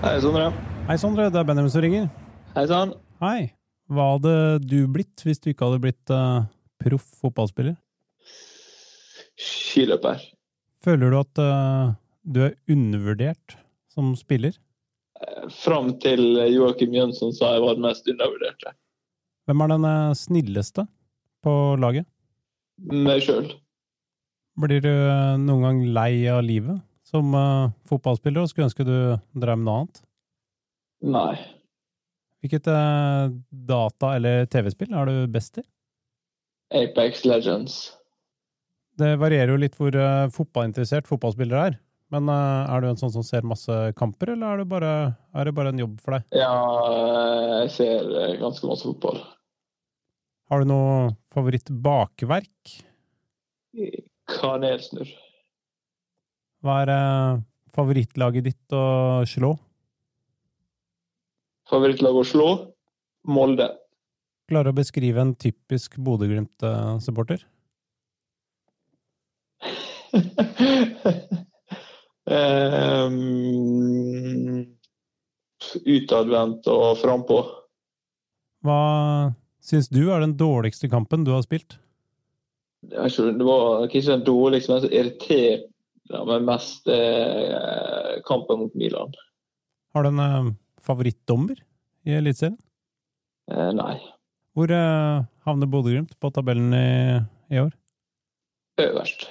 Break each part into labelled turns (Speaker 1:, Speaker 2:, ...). Speaker 1: Hei, Sondre.
Speaker 2: Hei, Sondre. Det er Benjamin som ringer.
Speaker 1: Hei sann.
Speaker 2: Hei. Hva hadde du blitt hvis du ikke hadde blitt eh, proff fotballspiller?
Speaker 1: Skiløper.
Speaker 2: Føler du at eh, du er undervurdert som spiller?
Speaker 1: Fram til Joakim Jønsson sa jeg var den mest undervurderte.
Speaker 2: Hvem er den eh, snilleste på laget?
Speaker 1: Meg sjøl.
Speaker 2: Blir du eh, noen gang lei av livet som eh, fotballspiller og skulle ønske du drev med noe annet?
Speaker 1: Nei.
Speaker 2: Hvilket eh, data- eller TV-spill er du best i?
Speaker 1: Apex Legends.
Speaker 2: Det varierer jo litt hvor eh, fotballinteressert fotballspillere er. Men eh, er du en sånn som ser masse kamper, eller er det bare, er det bare en jobb for deg?
Speaker 1: Ja, jeg ser eh, ganske masse fotball.
Speaker 2: Har du noe favorittbakverk?
Speaker 1: Kanelsnurr.
Speaker 2: Hva er eh, favorittlaget ditt å slå?
Speaker 1: Favorittlag å slå? Molde.
Speaker 2: Klarer du å beskrive en typisk Bodø-Glimt-supporter?
Speaker 1: um, utadvendt og frampå.
Speaker 2: Hva syns du er den dårligste kampen du har spilt?
Speaker 1: Det er ikke- det var kanskje den dårligste, men som irriterte meg mest, eh, kampen mot Milan.
Speaker 2: Har du en eh, favorittdommer i Eliteserien?
Speaker 1: Eh, nei.
Speaker 2: Hvor eh, havner Bodø-Glimt på tabellen i, i år?
Speaker 1: Øverst.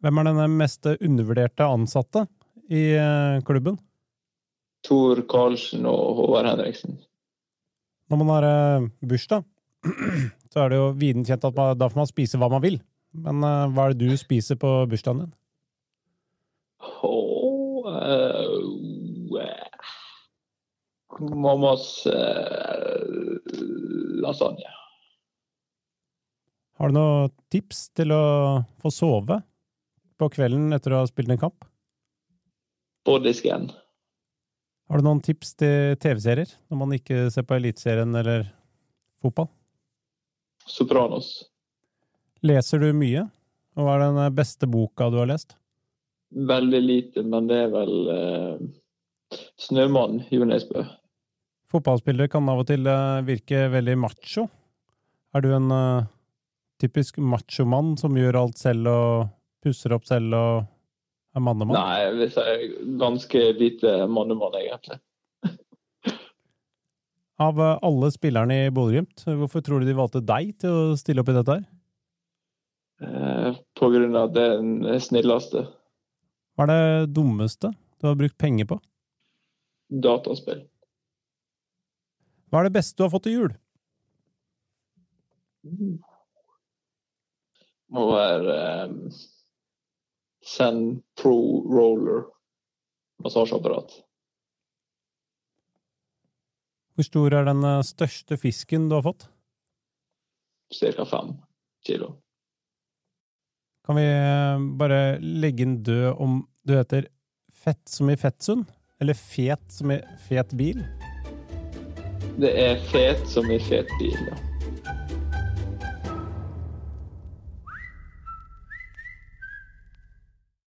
Speaker 2: Hvem er den mest undervurderte ansatte i eh, klubben?
Speaker 1: Tor Karlsen og Håvard Henriksen.
Speaker 2: Når man har eh, bursdag, så er det jo viden kjent at man, da får man spise hva man vil. Men eh, hva er det du spiser på bursdagen din?
Speaker 1: Åh, eh, eh, Mammas eh, lasagne.
Speaker 2: Har du noen tips til å få sove på kvelden etter å ha spilt en kamp?
Speaker 1: Bodyscan.
Speaker 2: Har du noen tips til TV-serier når man ikke ser på Eliteserien eller fotball?
Speaker 1: Sopranos.
Speaker 2: Leser du mye? Og hva er den eh, beste boka du har lest?
Speaker 1: Veldig lite, men det er vel eh, Snømann, Jo Nesbø.
Speaker 2: Fotballspillere kan av og til eh, virke veldig macho. Er du en eh, typisk machomann som gjør alt selv og pusser opp selv og er mannemann?
Speaker 1: Nei, jeg vil si ganske lite mannemann, egentlig.
Speaker 2: Av eh, alle spillerne i Bodø-Glimt, hvorfor tror du de valgte deg til å stille opp i dette her?
Speaker 1: Eh, På grunn av at det er den snilleste
Speaker 2: Hva er det dummeste du har brukt penger på?
Speaker 1: dataspill.
Speaker 2: Hva er det beste du har fått til jul?
Speaker 1: Må være eh, Zen Pro Roller massasjeapparat.
Speaker 2: Hvor stor er den eh, største fisken du har fått?
Speaker 1: Cirka fem kilo.
Speaker 2: Kan vi eh, bare legge den død om du heter Fett som i Fettsund? Eller Fet som i Fet bil?
Speaker 1: Det er fet som i fet bil. Ja.